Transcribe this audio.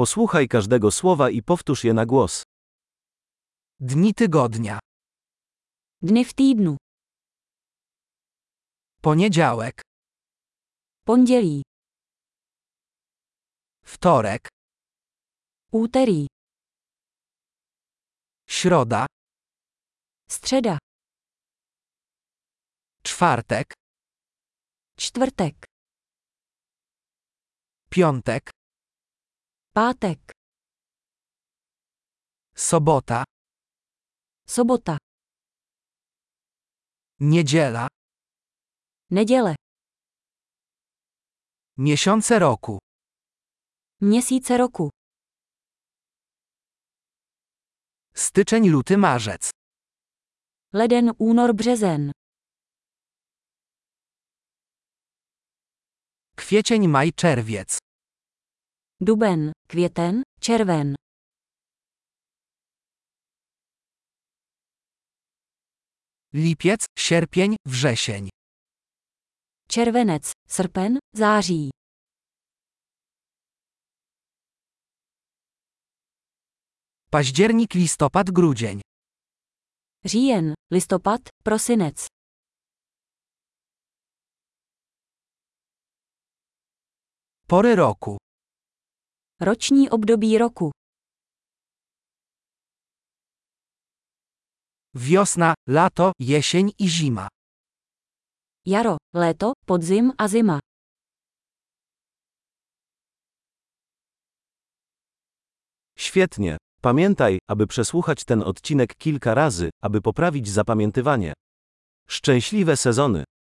Posłuchaj każdego słowa i powtórz je na głos. Dni tygodnia. Dny v týdnu. Poniedziałek, Pondělí. wtorek, Úterý. środa, Středa. czwartek, Čtvrtek. piątek, Pátek. sobota, Sobota. niedziela, Neděle. miesiące roku, Měsíce roku. styczeń, luty, marzec, Leden, únor, březen. kwiecień, maj, czerwiec, Duben, květen, červen. lipiec, sierpień, wrzesień, Červenec, srpen, září. październik, listopad, grudzień, Říjen, listopad, prosinec. pory roku, Roční období roku. wiosna, lato, jesień i zima, Jaro, léto, podzim a zima. Świetnie. Pamiętaj, aby przesłuchać ten odcinek kilka razy, aby poprawić zapamiętywanie. Szczęśliwe sezony.